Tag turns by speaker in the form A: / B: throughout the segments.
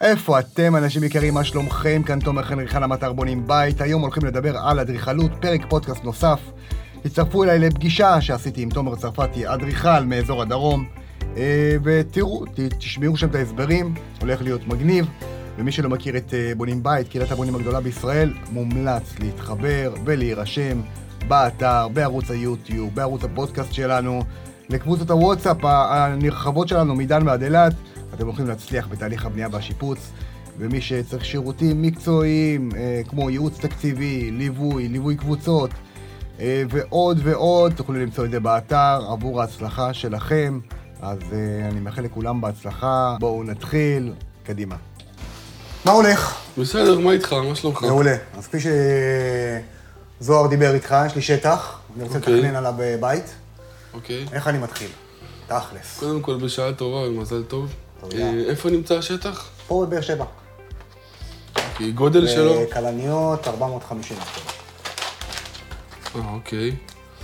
A: איפה אתם, אנשים יקרים, מה שלומכם? כאן תומר חן, אדריכל המטר בונים בית. היום הולכים לדבר על אדריכלות, פרק פודקאסט נוסף. הצטרפו אליי לפגישה שעשיתי עם תומר צרפתי, אדריכל מאזור הדרום. אה, ותראו, ת- תשמעו שם את ההסברים, הולך להיות מגניב. ומי שלא מכיר את אה, בונים בית, קהילת הבונים הגדולה בישראל, מומלץ להתחבר ולהירשם באתר, בערוץ היוטיוב, בערוץ הפודקאסט שלנו, לקבוצות הוואטסאפ ה- הנרחבות שלנו מדן ועד אילת. אתם הולכים להצליח בתהליך הבנייה והשיפוץ, ומי שצריך שירותים מקצועיים, אה, כמו ייעוץ תקציבי, ליווי, ליווי קבוצות, אה, ועוד ועוד, תוכלו למצוא את זה באתר עבור ההצלחה שלכם. אז אה, אני מאחל לכולם בהצלחה, בואו נתחיל, קדימה. מה הולך?
B: בסדר, מה איתך? מה שלומך?
A: מעולה. אז כפי שזוהר דיבר איתך, יש לי שטח, אני רוצה
B: אוקיי.
A: לתכנן עליו אה, בית.
B: אוקיי.
A: איך אני מתחיל? תכלס.
B: קודם כל, בשעה טובה ומזל טוב.
A: תודה.
B: אה, איפה נמצא השטח?
A: פה בבאר שבע.
B: כי
A: אה,
B: גודל שלו?
A: כלניות 450.
B: אה, אוקיי.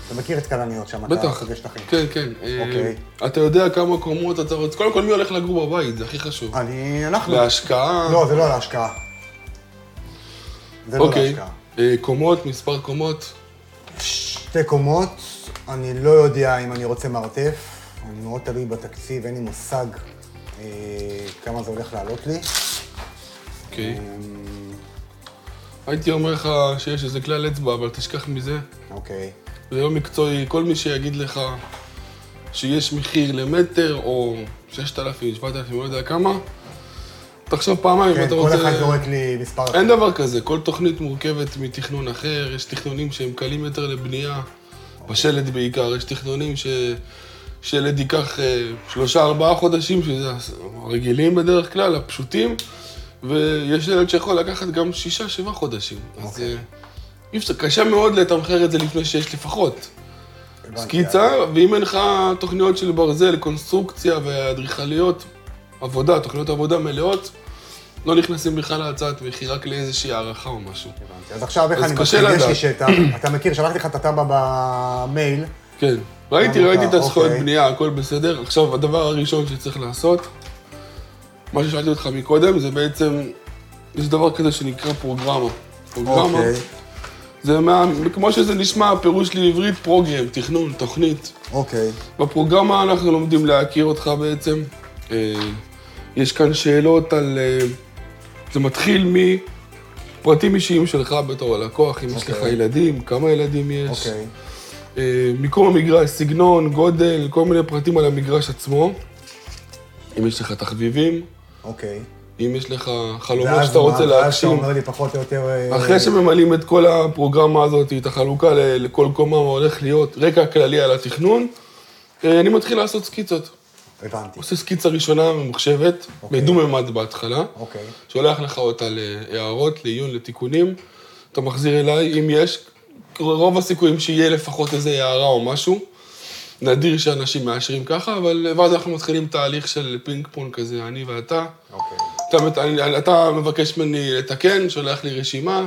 A: אתה מכיר את כלניות שם, אתה
B: בטח.
A: פוגש לכם.
B: כן, כן. אה,
A: אוקיי.
B: אתה יודע כמה קומות אתה רוצה... קודם כל, מי הולך לגור בבית? זה הכי חשוב.
A: אני, אנחנו.
B: בהשקעה...
A: לא, זה לא להשקעה. זה לא
B: אוקיי.
A: להשקעה.
B: אה, קומות, מספר קומות.
A: שתי קומות, אני לא יודע אם אני רוצה מרתף, אני מאוד תלוי בתקציב, אין לי מושג אה, כמה זה הולך לעלות לי.
B: אוקיי.
A: אמ,
B: הייתי אומר לך שיש איזה כלל אצבע, אבל תשכח מזה.
A: אוקיי,
B: זה לא מקצועי, כל מי שיגיד לך שיש מחיר למטר, או 6,000, 7,000, לא יודע כמה, תחשוב פעמיים אם
A: כן,
B: אתה
A: כל
B: רוצה... אה,
A: אחד זורק לי מספר אחר.
B: אין דבר כזה, כל תוכנית מורכבת מתכנון אחר, יש תכנונים שהם קלים יותר לבנייה, בשלד בעיקר, יש תכנונים ש... שלד ייקח אה, שלושה, ארבעה חודשים, שזה הס- הרגילים בדרך כלל, הפשוטים, ויש ילד שיכול לקחת גם שישה, שבעה חודשים. אז
A: אוקיי.
B: אה, אי אפשר, קשה מאוד לתמחר את זה לפני שיש לפחות.
A: הבנתי,
B: סקיצה, ואם אין לך תוכניות של ברזל, קונסטרוקציה ואדריכליות, עבודה, תוכניות עבודה מלאות, לא נכנסים בכלל להצעת מחיר, רק לאיזושהי הערכה או משהו.
A: הבנתי. אז עכשיו איך
B: אז
A: אני
B: קשה
A: מתחיל? יש לי
B: לדעת.
A: שטח, אתה מכיר, שלחתי לך את התב"ע במייל,
B: כן, ראיתי,
A: עמוקה,
B: ראיתי את הזכויות
A: אוקיי.
B: בנייה, הכל בסדר. עכשיו, הדבר הראשון שצריך לעשות, מה ששאלתי אותך מקודם, זה בעצם, יש דבר כזה שנקרא פרוגרמה. פרוגרמה,
A: אוקיי,
B: זה מה, כמו שזה נשמע, הפירוש לעברית פרוגרם, תכנון, תוכנית.
A: אוקיי,
B: בפרוגרמה אנחנו לומדים להכיר אותך בעצם. אה, יש כאן שאלות על... אה, זה מתחיל מפרטים אישיים שלך בתור הלקוח, אם יש לך
A: אוקיי.
B: ילדים, כמה ילדים יש,
A: אוקיי,
B: אה, מיקום המגרש, סגנון, גודל, כל מיני פרטים על המגרש עצמו. אם יש לך תחביבים,
A: אוקיי.
B: אם יש לך חלומות
A: ואז
B: לא שאתה רוצה
A: מה? ואז אתה
B: להגשים.
A: אומר לי פחות או יותר... אה,
B: אחרי שממלאים את כל הפרוגרמה הזאת, את החלוקה ל- לכל קומה, מה הולך להיות, רקע כללי על התכנון, אה, אני מתחיל לעשות סקיצות.
A: הבנתי,
B: עושה סקיצה ראשונה ממוחשבת,
A: אוקיי.
B: בדו-ממד בהתחלה,
A: אוקיי,
B: שולח לך אותה להערות, לעיון, לתיקונים, אתה מחזיר אליי, אם יש, רוב הסיכויים שיהיה לפחות איזה הערה או משהו. נדיר שאנשים מאשרים ככה, אבל ואז אנחנו מתחילים תהליך של פינג פונג כזה, אני ואתה.
A: אוקיי.
B: אתה, מת- אני- אתה מבקש ממני לתקן, שולח לי רשימה,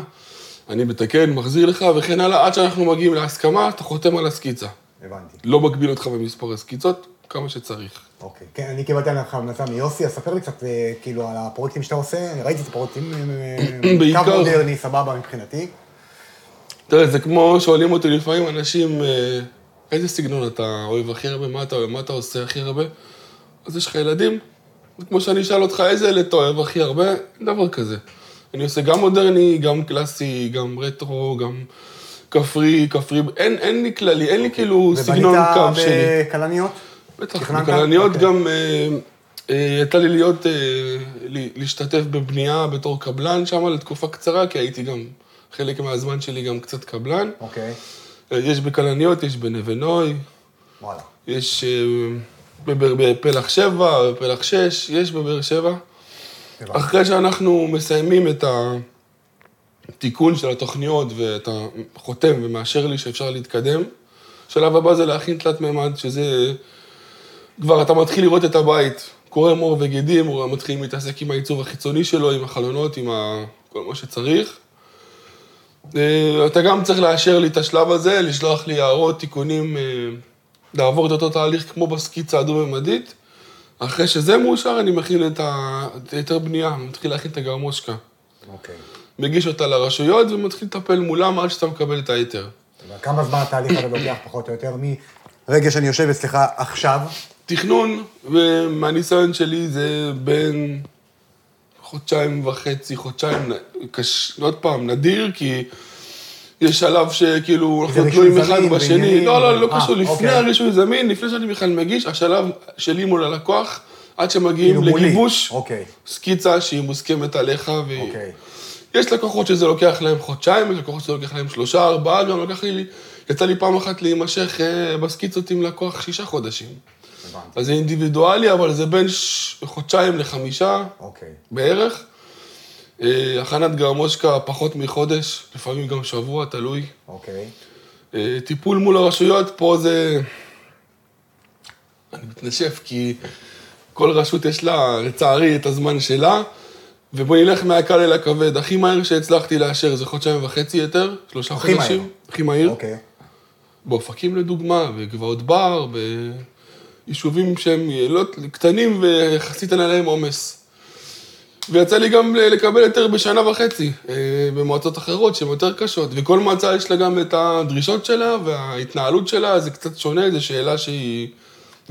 B: אני מתקן, מחזיר לך וכן הלאה, עד שאנחנו מגיעים להסכמה, אתה חותם על הסקיצה.
A: הבנתי.
B: לא מגביל אותך במספר הסקיצות, כמה שצריך.
A: אוקיי. כן, אני קיבלתי עליך המלצה מיוסי, אז ספר לי קצת אה, כאילו על הפרויקטים שאתה עושה, אני ראיתי את הפרויקטים, אה, אה,
B: בעיקר.
A: קו מודרני, סבבה מבחינתי.
B: תראה, זה כמו שואלים אותי לפעמים אנשים, אה, איזה סגנון אתה אוהב הכי הרבה, מה אתה אוהב, מה אתה עושה הכי הרבה? אז יש לך ילדים? זה כמו שאני אשאל אותך, איזה ילד אתה אוהב הכי הרבה? אין דבר כזה. אני עושה גם מודרני, גם קלאסי, גם רטרו, גם כפרי, כפרי, אין, אין לי כללי, אין לי כאילו סגנון קו
A: ובנית
B: שלי.
A: בכלניות?
B: בטח,
A: תכננת?
B: בכלניות
A: אוקיי.
B: גם, אה, אה, יצא לי להיות, אה, ל- להשתתף בבנייה בתור קבלן שם לתקופה קצרה, כי הייתי גם, חלק מהזמן שלי גם קצת קבלן.
A: אוקיי,
B: אה, יש בכלניות, יש בנווה נוי,
A: וואלה.
B: יש אה, בבאר- בפלח שבע, בפלח שש, יש בבאר שבע.
A: הבנתי.
B: אחרי שאנחנו מסיימים את התיקון של התוכניות ואתה חותם ומאשר לי שאפשר להתקדם, השלב הבא זה להכין תלת מימד, שזה... כבר אתה מתחיל לראות את הבית, קורם עור וגידים, הוא מתחיל להתעסק עם העיצוב החיצוני שלו, עם החלונות, עם ה... כל מה שצריך. אה, אתה גם צריך לאשר לי את השלב הזה, לשלוח לי הערות, תיקונים, אה, לעבור את אותו תהליך כמו בסקיצה הדו-ממדית, אחרי שזה מאושר, אני מכין את ה- את היתר בנייה, מתחיל להכין את הגרמושקה.
C: אוקיי.
B: מגיש אותה לרשויות ומתחיל לטפל מולם עד שאתה מקבל את ההיתר.
C: כמה זמן התהליך הזה לוקח פחות או יותר מרגע שאני יושב אצלך עכשיו?
B: תכנון, ומהניסיון שלי זה בין חודשיים וחצי, חודשיים, קש... עוד פעם, נדיר, כי יש שלב שכאילו אנחנו
C: רישוי
B: תלויים אחד
C: זמין
B: בשני.
C: ועניינים.
B: לא, לא, לא
C: אה,
B: קשור, לפני
C: אוקיי.
B: הרישוי זמין, לפני שאני בכלל מגיש, השלב שלי מול הלקוח, עד שמגיעים
C: כאילו מולי.
B: לגיבוש
C: אוקיי.
B: סקיצה שהיא מוסכמת עליך. והיא...
C: אוקיי.
B: יש לקוחות שזה לוקח להם חודשיים, יש לקוחות שזה לוקח להם שלושה, ארבעה, גם לקח לי, יצא לי פעם אחת להימשך אה, בסקיצות עם לקוח שישה חודשים.
C: הבנתי.
B: אז זה אינדיבידואלי, אבל זה בין ש... חודשיים לחמישה
C: אוקיי.
B: בערך. אה, הכנת גרמושקה פחות מחודש, לפעמים גם שבוע, תלוי.
C: אוקיי.
B: אה, טיפול מול הרשויות, פה זה... אני מתנשף, כי כל רשות יש לה, לצערי, את הזמן שלה, ובוא נלך מהקל אל הכבד. הכי מהר שהצלחתי לאשר זה חודשיים וחצי יותר, שלושה
C: הכי מהר.
B: חודשים. הכי מהיר.
C: אוקיי.
B: באופקים לדוגמה, בגבעות בר, ביישובים שהם לא, קטנים ויחסית אין עליהם עומס. ויצא לי גם ל- לקבל היתר בשנה וחצי אה, במועצות אחרות שהן יותר קשות, וכל מועצה יש לה גם את הדרישות שלה וההתנהלות שלה, זה קצת שונה, זו שאלה שהיא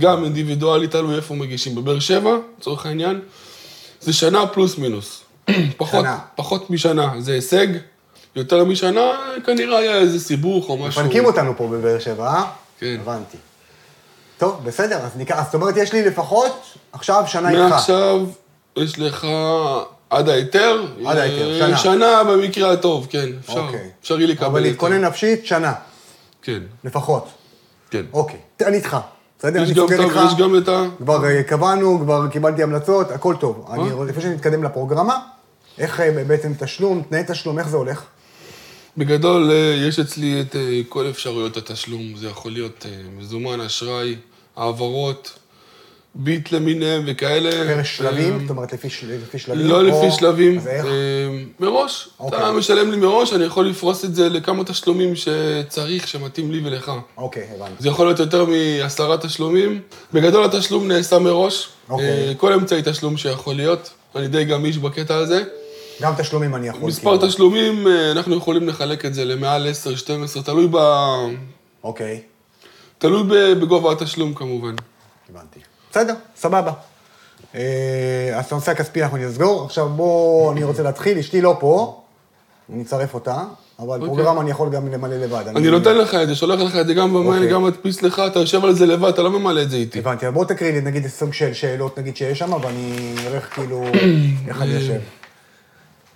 B: גם אינדיבידואלית, תלוי איפה מגישים. בבאר שבע, לצורך העניין, זה שנה פלוס מינוס. פחות,
C: שנה.
B: פחות משנה, זה הישג. יותר משנה, כנראה היה איזה סיבוך או משהו.
C: מפנקים אותנו פה בבאר שבע, אה?
B: כן.
C: הבנתי. טוב, בסדר, אז ניקח, אז זאת אומרת, יש לי לפחות עכשיו שנה איתך.
B: מעכשיו יש לך עד ההיתר.
C: עד ההיתר,
B: אה,
C: שנה.
B: שנה במקרה הטוב, כן, אפשר.
C: אוקיי.
B: אפשר יהיה לקבל
C: אבל
B: היתר.
C: להתכונן נפשית, שנה,
B: כן,
C: לפחות.
B: כן.
C: אוקיי, אני איתך. בסדר,
B: יש
C: אני
B: גם
C: סוגר
B: את ה-
C: איתך.
B: יש גם את ה...
C: כבר אה, קבענו, כבר קיבלתי המלצות, הכל
B: אה?
C: טוב. אני רוצה, לפני שנתקדם לפרוגרמה, איך אה, בעצם תשלום, תנאי תשלום, איך זה הולך?
B: אה, בגדול, אה, יש אצלי את אה, כל אפשרויות התשלום. זה יכול להיות אה, מזומן, אשראי, העברות, ביט למיניהם וכאלה.
C: פר
B: אה,
C: שלבים, זאת אומרת, לפי של- לפי שלבים?
B: לא
C: או-
B: לפי שלבים,
C: אז איך?
B: אה, מראש. אתה
C: אוקיי.
B: משלם לי מראש, אני יכול לפרוס את זה לכמה תשלומים שצריך, שמתאים לי ולך.
C: אוקיי, הבנתי.
B: זה יכול להיות יותר מעשרה תשלומים. בגדול התשלום נעשה מראש.
C: אוקיי.
B: אה, כל אמצעי תשלום שיכול להיות. אני די גמיש בקטע הזה.
C: אוקיי. גם תשלומים אני יכול.
B: מספר
C: כאילו.
B: תשלומים, אה, אנחנו יכולים לחלק את זה למעל 10, 12, תלוי, ב...
C: אוקיי,
B: תלוי ב- בגובה התשלום כמובן.
C: הבנתי. בסדר, סבבה. אה, אז את הנושא הכספי אנחנו נסגור. עכשיו בוא, אני רוצה להתחיל, אשתי לא פה, אני אצרף אותה, אבל פרוגרמה אני יכול גם למלא לבד.
B: אוקיי. אני לא נותן לך את זה, שולח לך את זה גם במייל,
C: אוקיי.
B: גם מדפיס לך, אתה יושב על זה לבד, אתה לא ממלא את זה איתי.
C: הבנתי, אבל בוא תקריא לי נגיד סוג של שאלות נגיד שיש שם, ואני אראה איך כאילו, איך
B: אה.
C: אני יושב.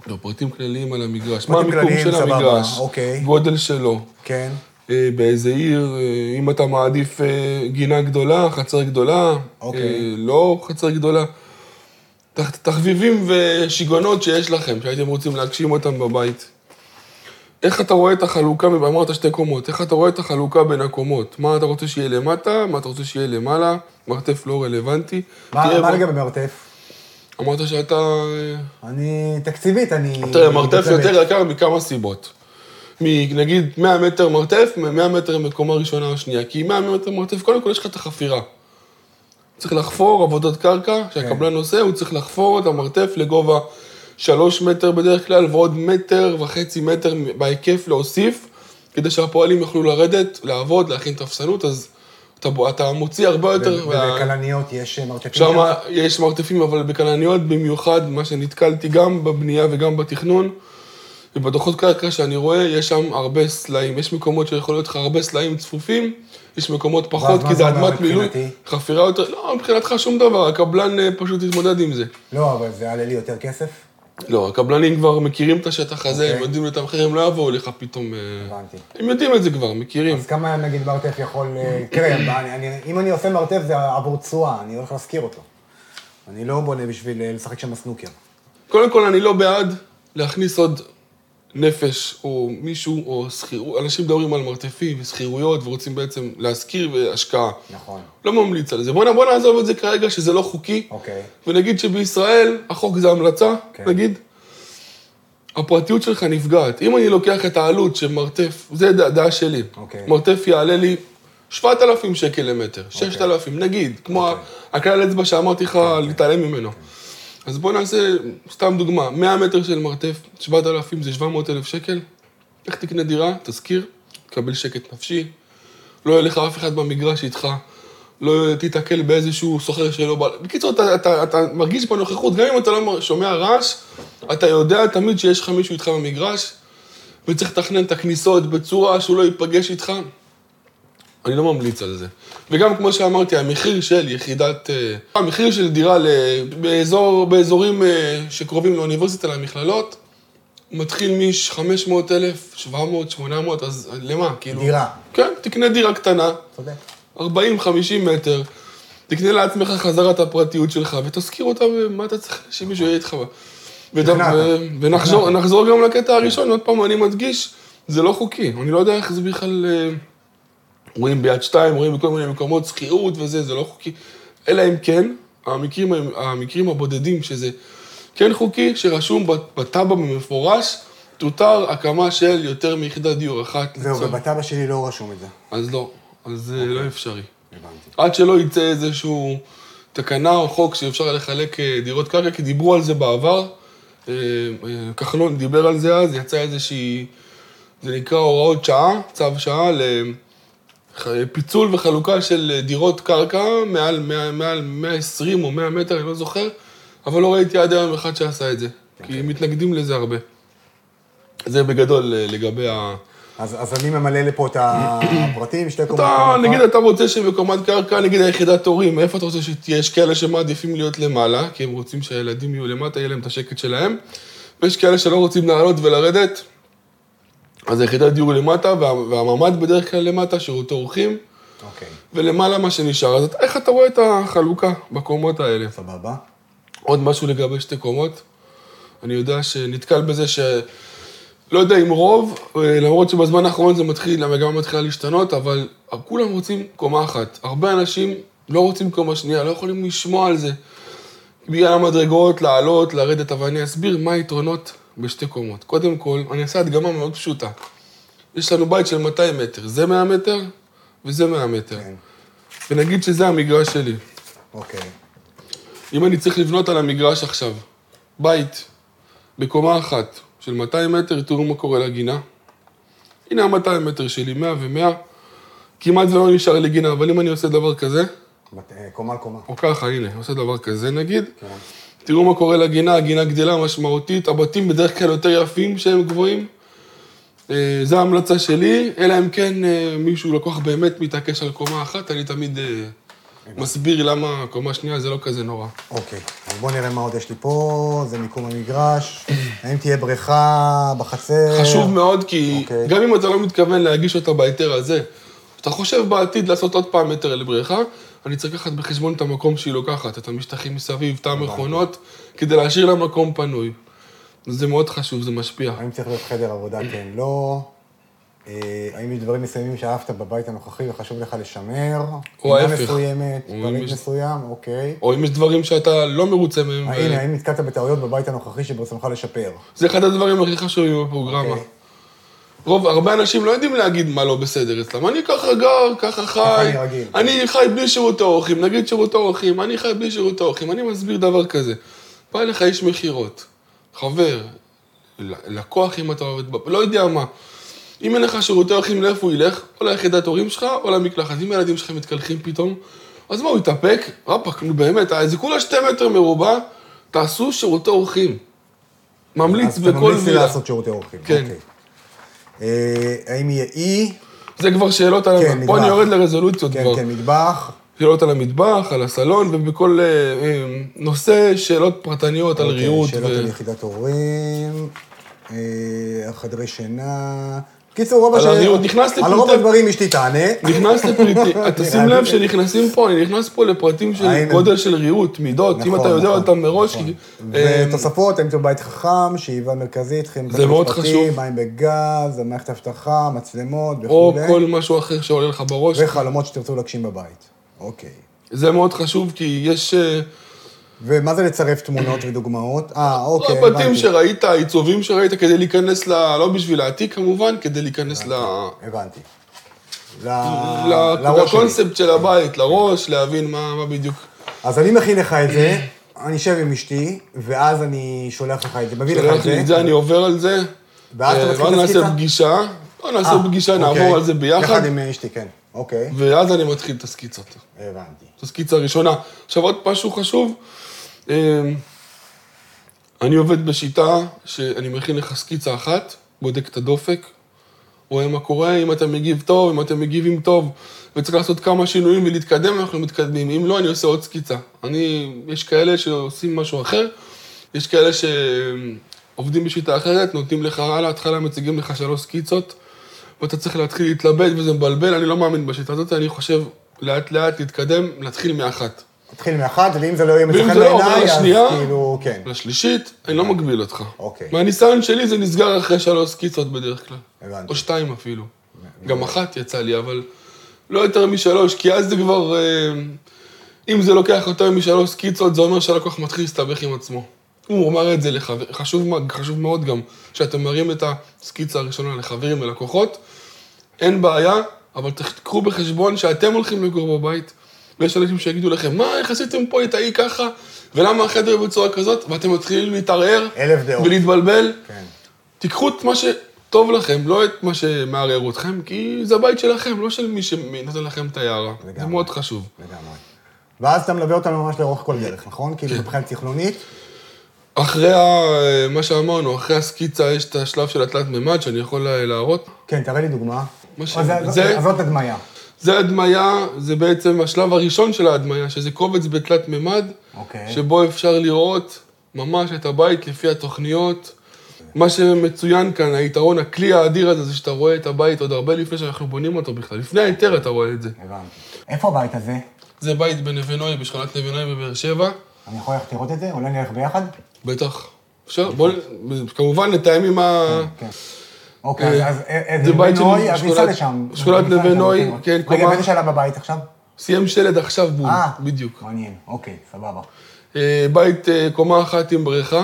B: לא, פרטים כלליים על המגרש. מה
C: פרטים
B: המיקום
C: כלליים,
B: של
C: סבבה,
B: המגרש?
C: אוקיי.
B: גודל שלו.
C: כן,
B: אה, באיזה עיר, אה, אם אתה מעדיף אה, גינה גדולה, חצר גדולה,
C: אוקיי.
B: אה, לא חצר גדולה. תח- תחביבים ושיגעונות שיש לכם, שהייתם רוצים להגשים אותם בבית. איך אתה רואה את החלוקה, אמרת שתי קומות, איך אתה רואה את החלוקה בין הקומות? מה אתה רוצה שיהיה למטה, מה אתה רוצה שיהיה למעלה, מרתף לא רלוונטי.
C: מה
B: תראה,
C: מה
B: אמר-
C: לגבי מרתף?
B: אמרת שאתה... אה,
C: אני תקציבית, אני...
B: תראה, מרתף
C: מתלבט.
B: יותר יקר מכמה סיבות. מנגיד 100 מטר מרתף, מ-100 מטר מקומה ראשונה או שנייה. כי 100 מטר מרתף, קודם כל יש לך את החפירה. צריך לחפור עבודת קרקע, שהקבלן עושה, הוא צריך לחפור את המרתף לגובה 3 מטר בדרך כלל, ועוד מטר וחצי מטר בהיקף להוסיף, כדי שהפועלים יוכלו לרדת, לעבוד, להכין טפסנות, אז אתה, אתה מוציא הרבה יותר... מה-
C: ובכלניות יש אה, מרתפים?
B: שם
C: כאלה?
B: יש מרתפים, אבל בכלניות במיוחד, מה שנתקלתי גם בבנייה וגם בתכנון, ובדוחות קרקע שאני רואה, יש שם הרבה סלעים. יש מקומות שיכול להיות לך הרבה סלעים צפופים, יש מקומות פחות,
C: ואז מה
B: כי
C: זה
B: זה
C: אומר
B: אדמת מילוי,
C: מבחינתי?
B: חפירה יותר, לא, מבחינתך שום דבר, הקבלן אה, פשוט יתמודד עם זה.
C: לא, אבל זה יעלה לי יותר כסף?
B: לא, הקבלנים כבר מכירים את השטח הזה, הם
C: אוקיי.
B: יודעים לתמחר, הם לא יבואו לך פתאום... אה,
C: הבנתי.
B: הם יודעים את זה כבר, מכירים.
C: אז כמה נגיד מרתף יכול... אה, תראה, אני- אני- אם אני עושה מרתף זה עבור תשואה, אני הולך להשכיר אותו. אני לא בונה בשביל אה, לשחק שם סנוקר.
B: קודם כל, אני לא בעד להכניס עוד נפש או מישהו או שכירות. אנשים מדברים על מרתפים ושכירויות ורוצים בעצם להשכיר והשקעה.
C: נכון.
B: לא ממליץ על זה. בוא, נ- בוא נעזוב את זה כרגע, שזה לא חוקי.
C: אוקיי.
B: ונגיד שבישראל, החוק זה המלצה,
C: כן.
B: נגיד. הפרטיות שלך נפגעת. אם אני לוקח את העלות שמרתף, זה דע- דעה שלי.
C: אוקיי.
B: מרתף יעלה לי 7,000 שקל למטר, 6,000, נגיד, כמו
C: אוקיי.
B: הכלל אצבע שאמרתי לך להתעלם ממנו. אז בוא נעשה, סתם דוגמה, 100 מטר של מרתף, 7,000 זה 700,000 שקל. איך תקנה דירה? תשכיר, תקבל שקט נפשי, לא יהיה לך אף אחד במגרש איתך, לא תיתקל באיזשהו סוחר שלא בא... בקיצור, אתה, אתה, אתה מרגיש בנוכחות, גם אם אתה לא שומע רעש, אתה יודע תמיד שיש לך מישהו איתך במגרש, וצריך לתכנן את הכניסות בצורה שהוא לא ייפגש איתך. אני לא ממליץ על זה. וגם כמו שאמרתי, המחיר של יחידת... אה, המחיר של דירה ל- באזור, באזורים אה, שקרובים לאוניברסיטה, למכללות, מתחיל מ-500,000, 700, 800, אז למה? כאילו...
C: דירה.
B: כן, תקנה דירה קטנה,
C: צודק.
B: 40-50 מטר, תקנה לעצמך חזרה את הפרטיות שלך, ותזכיר אותה, ומה אתה צריך שמישהו יהיה איתך. ודו-
C: נכנעת.
B: ו- ונחזור נחזור גם לקטע הראשון, עוד פעם, אני מדגיש, זה לא חוקי. אני לא יודע איך זה בכלל... אה, רואים ביד שתיים, רואים בכל מיני מקומות, שכירות וזה, זה לא חוקי. אלא אם כן, המקרים, המקרים הבודדים שזה כן חוקי, שרשום בת- בתב"ע במפורש, תותר הקמה של יותר מיחידת דיור אחת.
C: זהו,
B: לצורך-
C: ובתב"ע שלי לא רשום את זה.
B: אז לא, אז זה לא אפשרי. עד שלא יצא איזשהו תקנה או חוק שאפשר לחלק אה, דירות קרקע, כי דיברו על זה בעבר. אה, אה, כחלון דיבר על זה אז, יצא איזושהי, זה נקרא הוראות שעה, צו שעה, לפיצול וחלוקה של דירות קרקע מעל, מעל, מעל 120 או 100 מטר, אני לא זוכר, אבל לא ראיתי עד היום אחד שעשה את זה, כי מתנגדים לזה הרבה. זה בגדול אה, לגבי ה...
C: אז אז אני ממלא לפה את הפרטים, שתי קומות.
B: אתה,
C: קומה
B: נגיד,
C: אחת.
B: אתה רוצה שבקומת קרקע, נגיד היחידת הורים, איפה אתה רוצה שתהיה? יש כאלה שמעדיפים להיות למעלה, כי הם רוצים שהילדים יהיו למטה, יהיה להם את השקט שלהם, ויש כאלה שלא רוצים לעלות ולרדת, אז היחידת דיור למטה, וה, והממ"ד בדרך כלל למטה, שירות אורחים,
C: אוקיי,
B: ולמעלה מה שנשאר. אז איך אתה רואה את החלוקה בקומות האלה?
C: סבבה.
B: עוד משהו לגבי שתי קומות. אני יודע שנתקל בזה ש... לא יודע אם רוב, אה, למרות שבזמן האחרון זה מתחיל, המגמה מתחילה להשתנות, אבל כולם רוצים קומה אחת. הרבה אנשים לא רוצים קומה שנייה, לא יכולים לשמוע על זה. בגלל המדרגות, לעלות, לרדת, אבל אני אסביר מה היתרונות בשתי קומות. קודם כל, אני אעשה הדגמה מאוד פשוטה. יש לנו בית של 200 מטר, זה 100 מטר וזה 100 מטר.
C: כן.
B: ונגיד שזה המגרש שלי.
C: אוקיי.
B: אם אני צריך לבנות על המגרש עכשיו, בית, בקומה אחת, של 200 מטר, תראו מה קורה לגינה. הנה ה-200 מטר שלי, 100 ו-100. כמעט ולא נשאר לי גינה, אבל אם אני עושה דבר כזה,
C: בת- אה, קומה על קומה.
B: או ככה, הנה, עושה דבר כזה נגיד, תראו מה קורה לגינה, הגינה גדלה משמעותית, הבתים בדרך כלל יותר יפים שהם גבוהים. אה, זו ההמלצה שלי, אלא אם כן אה, מישהו, לקוח באמת מתעקש על קומה אחת, אני תמיד אה, מסביר למה קומה שנייה זה לא כזה נורא.
C: אוקיי, אז בואו נראה מה עוד יש לי פה, זה מיקום המגרש, האם תהיה בריכה בחצר?
B: חשוב מאוד, כי
C: אוקיי.
B: גם אם אתה לא מתכוון להגיש אותה בהיתר הזה, אתה חושב בעתיד לעשות עוד פעם היתר לבריכה, אני צריך לקחת בחשבון את המקום שהיא לוקחת, את המשטחים מסביב, את המכונות, כדי להשאיר לה מקום פנוי. זה מאוד חשוב, זה משפיע.
C: האם צריך להיות חדר עבודה, כן, לא. אה, האם יש דברים מסוימים שאהבת בבית הנוכחי וחשוב לך לשמר?
B: או
C: פינה
B: ההפך.
C: מסוימת,
B: או אם
C: פריט
B: יש-
C: מסוים, אוקיי.
B: או אם יש דברים שאתה לא מרוצה מהם,
C: אה,
B: ו-
C: הנה, האם נתקעת בטעויות בבית הנוכחי שברצונך לשפר?
B: זה אחד הדברים הכי חשובים בפרוגרמה.
C: אוקיי.
B: רוב, הרבה אנשים לא יודעים להגיד מה לא בסדר אצלם. אני ככה גר, ככה חי.
C: אני רגיל.
B: אני חי בלי שירות האורחים, נגיד שירות האורחים, אני חי בלי שירות האורחים. אני מסביר דבר כזה. בא אליך איש מכירות, חבר, ל- לקוח אם אתה עובד, ב- לא יודע מה. אם אין לך שירותי אורחים, לאיפה הוא ילך? או ליחידת הורים שלך, או למקלחת. אם הילדים שלך מתקלחים פתאום, אז מה, הוא יתאפק? רפ"ק, נו באמת, זה כולה שתי מטר מרובע, תעשו שירותי אורחים. ממליץ
C: אז אתה
B: בכל
C: ממליץ לי
B: מילה.
C: לעשות שירותי אורחים.
B: כן.
C: אוקיי. אה, האם יהיה אי?
B: זה כבר שאלות על...
C: כן,
B: פה אני
C: נגמר.
B: יורד לרזולוציות
C: כן,
B: כבר.
C: כן, מטבח.
B: שאלות על המטבח, על הסלון, ובכל אה, אה, נושא שאלות פרטניות על
C: אוקיי,
B: ריהוט.
C: שאלות
B: ו-
C: על יחידת הורים, אה, חדרי שינה. קיצור, רוב
B: על
C: השאלות-
B: הריהוט. נכנס
C: על רוב
B: לפרטי-
C: הדברים אשתי תענה.
B: נכנס לפריטים, אתה שים לב שנכנסים פה, אני נכנס פה לפרטים של
C: היינו.
B: גודל של ריהוט, מידות, אם
C: נכון,
B: אתה יודע
C: נכון,
B: אותם מראש.
C: נכון.
B: כי- אה,
C: ותוספות, האם זה בית חכם, שאיבה מרכזית, חיים
B: זה מאוד חשוב.
C: מים בגז, מערכת אבטחה, מצלמות
B: או
C: וכולי.
B: כל משהו אחר שעולה לך בראש.
C: וחלומות שתרצו להגשים בבית. אוקיי.
B: זה מאוד חשוב, כי יש אה,
C: ומה זה לצרף תמונות ודוגמאות? אה, אוקיי,
B: הבתים שראית, העיצובים שראית, כדי להיכנס ל... לא בשביל העתיק כמובן, כדי להיכנס ל...
C: הבנתי. ל-
B: ל-
C: לראש שלי.
B: לקונספט של הבית, לראש, להבין מה מה בדיוק.
C: אז אני מכין לך את זה, אני אשב עם אשתי, ואז אני שולח לך את זה, מביא לך
B: שולח לי
C: את
B: את
C: זה.
B: זה, אני עובר על זה.
C: ואז אתה
B: אה,
C: מתחיל
B: ואז
C: את הסקיצה?
B: נעשה פגישה, בוא נעשה
C: אה,
B: פגישה,
C: אוקיי.
B: נעבור על זה ביחד,
C: יחד עם אשתי, כן. אוקיי,
B: ואז אני מתחיל את הסקיצות.
C: הבנתי.
B: זו סקיצה ראשונה. עכשיו עוד משהו חשוב, אמ, אני עובד בשיטה שאני מכין לך סקיצה אחת, בודק את הדופק, רואה מה קורה, אם אתה מגיב טוב, אם אתם מגיבים טוב, וצריך לעשות כמה שינויים ולהתקדם, אנחנו מתקדמים. אם לא, אני עושה עוד סקיצה. אני, יש כאלה שעושים משהו אחר, יש כאלה שעובדים בשיטה אחרת, נותנים לך, על ההתחלה מציגים לך שלוש סקיצות, ואתה צריך להתחיל להתלבט וזה מבלבל, אני לא מאמין בשיטה הזאת, אני חושב לאט-לאט להתקדם, להתחיל מאחת.
C: נתחיל מאחת, ואם זה לא יהיה
B: ואם
C: מצחן
B: זה לא עובר
C: בעיניי, אז
B: לשנייה,
C: כאילו, כן,
B: לשלישית, אני לא מגביל אותך.
C: אוקיי.
B: מהניסיון שלי זה נסגר אחרי שלוש סקיצות בדרך כלל.
C: הבנתי.
B: או שתיים אפילו. גם אחת יצא לי, אבל לא יותר משלוש, כי אז זה כבר... אה, אם זה לוקח יותר משלוש סקיצות, זה אומר שהלקוח מתחיל להסתבך עם עצמו. הוא אמר את זה לחבר, חשוב, מאוד- חשוב מאוד גם, כשאתם מראים את הסקיצה הראשונה לחברים ולקוחות, אין בעיה, אבל תקחו בחשבון שאתם הולכים לגור בבית, ויש אנשים שיגידו לכם, מה, איך עשיתם פה את האי ככה, ולמה החדר בצורה כזאת, ואתם מתחילים להתערער,
C: אלף דעות.
B: ולהתבלבל.
C: כן.
B: תיקחו את מה שטוב לכם, לא את מה שמערער אתכם, כי זה הבית שלכם, לא של מי שנותן לכם את היערה. זה
C: לגמרי.
B: מאוד חשוב.
C: לגמרי. ואז אתה מלווה אותנו ממש לאורך כל דרך,
B: כן.
C: נכון? כאילו, מבחינת תכנונית,
B: אחרי ה- מה שאמרנו, אחרי הסקיצה יש את השלב של התלת מימד שאני יכול לה- להראות.
C: כן, תראה לי דוגמה.
B: מה ש-
C: אז זה-
B: זה-
C: אז זאת הדמיה.
B: זה הדמיה, זה בעצם השלב הראשון של ההדמיה, שזה קובץ בתלת מימד,
C: אוקיי.
B: שבו אפשר לראות ממש את הבית לפי התוכניות.
C: אוקיי.
B: מה שמצוין כאן, היתרון, הכלי האדיר הזה, זה שאתה רואה את הבית עוד הרבה לפני שאנחנו בונים אותו בכלל. לפני ההיתר אתה רואה את זה.
C: הבנתי. איפה הבית הזה?
B: זה בית בנבינוי, בשכונת נבינוי בבאר שבע.
C: אני יכול ללכת לראות את זה? אולי נלך ביחד?
B: בטח. אפשר, בואו, כמובן נתאם עם ה...
C: כן. אוקיי, אז-
B: אה,
C: אז אה, אה,
B: זה בית
C: נוי,
B: של
C: אז ניסע
B: שכונת-
C: לשם.
B: שכונת
C: ניסע לשם,
B: לבנוי,
C: אוקיי.
B: כן,
C: רגע,
B: קומה.
C: באיזה שלב הבית עכשיו?
B: סיים שלד עכשיו בום,
C: אה,
B: בדיוק.
C: מעניין, אוקיי, סבבה.
B: אה, בית אה, קומה אחת עם בריכה,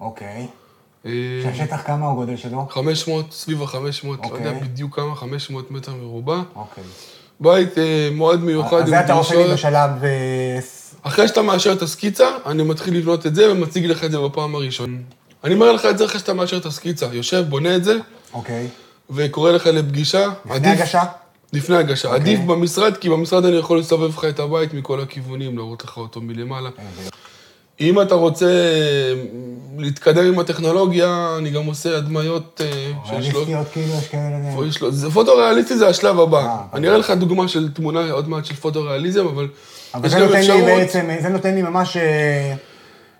C: אוקיי.
B: אה,
C: שהשטח כמה הוא גודל שלו?
B: 500, סביב ה-500, לא יודע
C: אוקיי.
B: בדיוק כמה, 500 מטר מרובע.
C: אוקיי.
B: בית אה, מאוד מיוחד עם
C: אז זה אתה עושה לי
B: דרישות.
C: בשלב... אה, ס-
B: אחרי שאתה מאשר את הסקיצה, אני מתחיל לבנות את זה ומציג לך את זה בפעם הראשונה. אני אומר לך את זה אחרי שאתה מאשר את הסקיצה, יושב, בונה את זה,
C: אוקיי.
B: וקורא לך לפגישה.
C: לפני
B: עדיף-
C: הגשה? אוקיי.
B: לפני הגשה. עדיף במשרד, כי במשרד אני יכול לסובב לך את הבית מכל הכיוונים, להראות לך אותו מלמעלה.
C: אה,
B: אם אתה רוצה אה, להתקדם עם הטכנולוגיה, אני גם עושה הדמיות אה, שיש לו...
C: ריאליסטיות כאילו, יש כאלה...
B: פה יש לו... זה פוטו-ריאליסטי זה השלב הבא.
C: הבנתי.
B: אני אראה לך דוגמה של תמונה עוד מעט של פוטו-ריאליזם, אבל
C: אבל
B: יש
C: זה
B: גם
C: נותן לי
B: אפשרות...
C: בעצם, זה נותן לי ממש אה,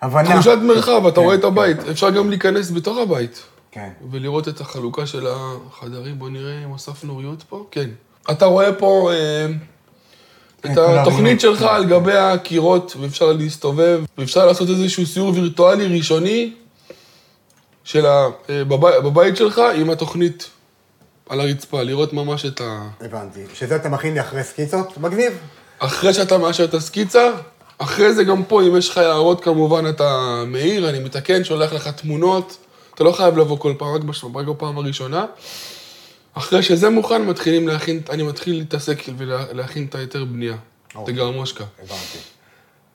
C: הבנה.
B: תחושת מרחב, אתה רואה את הבית. אפשר גם להיכנס בתוך הבית
C: כן.
B: ולראות את החלוקה של החדרים. בוא נראה אם הוספנו ריהוט פה. כן. אתה רואה פה אה,
C: כן,
B: את
C: כל
B: התוכנית
C: הריהוט,
B: שלך
C: כן.
B: על גבי הקירות, ואפשר להסתובב, ואפשר לעשות איזשהו סיור וירטואלי ראשוני של ה... אה, בב- בבית שלך עם התוכנית על הרצפה, לראות ממש את ה...
C: הבנתי. שזה אתה מכין לי אחרי סקיצות? מגניב.
B: אחרי שאתה מאשר את הסקיצה, אחרי זה גם פה, אם יש לך הערות, כמובן אתה מעיר, אני מתקן, שולח לך תמונות. אתה לא חייב לבוא כל פעם, רק, בש... רק בפעם הראשונה. אחרי שזה מוכן, מתחילים להכין, אני מתחיל להתעסק ולהכין את ההיתר בנייה. את הגרמושקה.
C: הבנתי.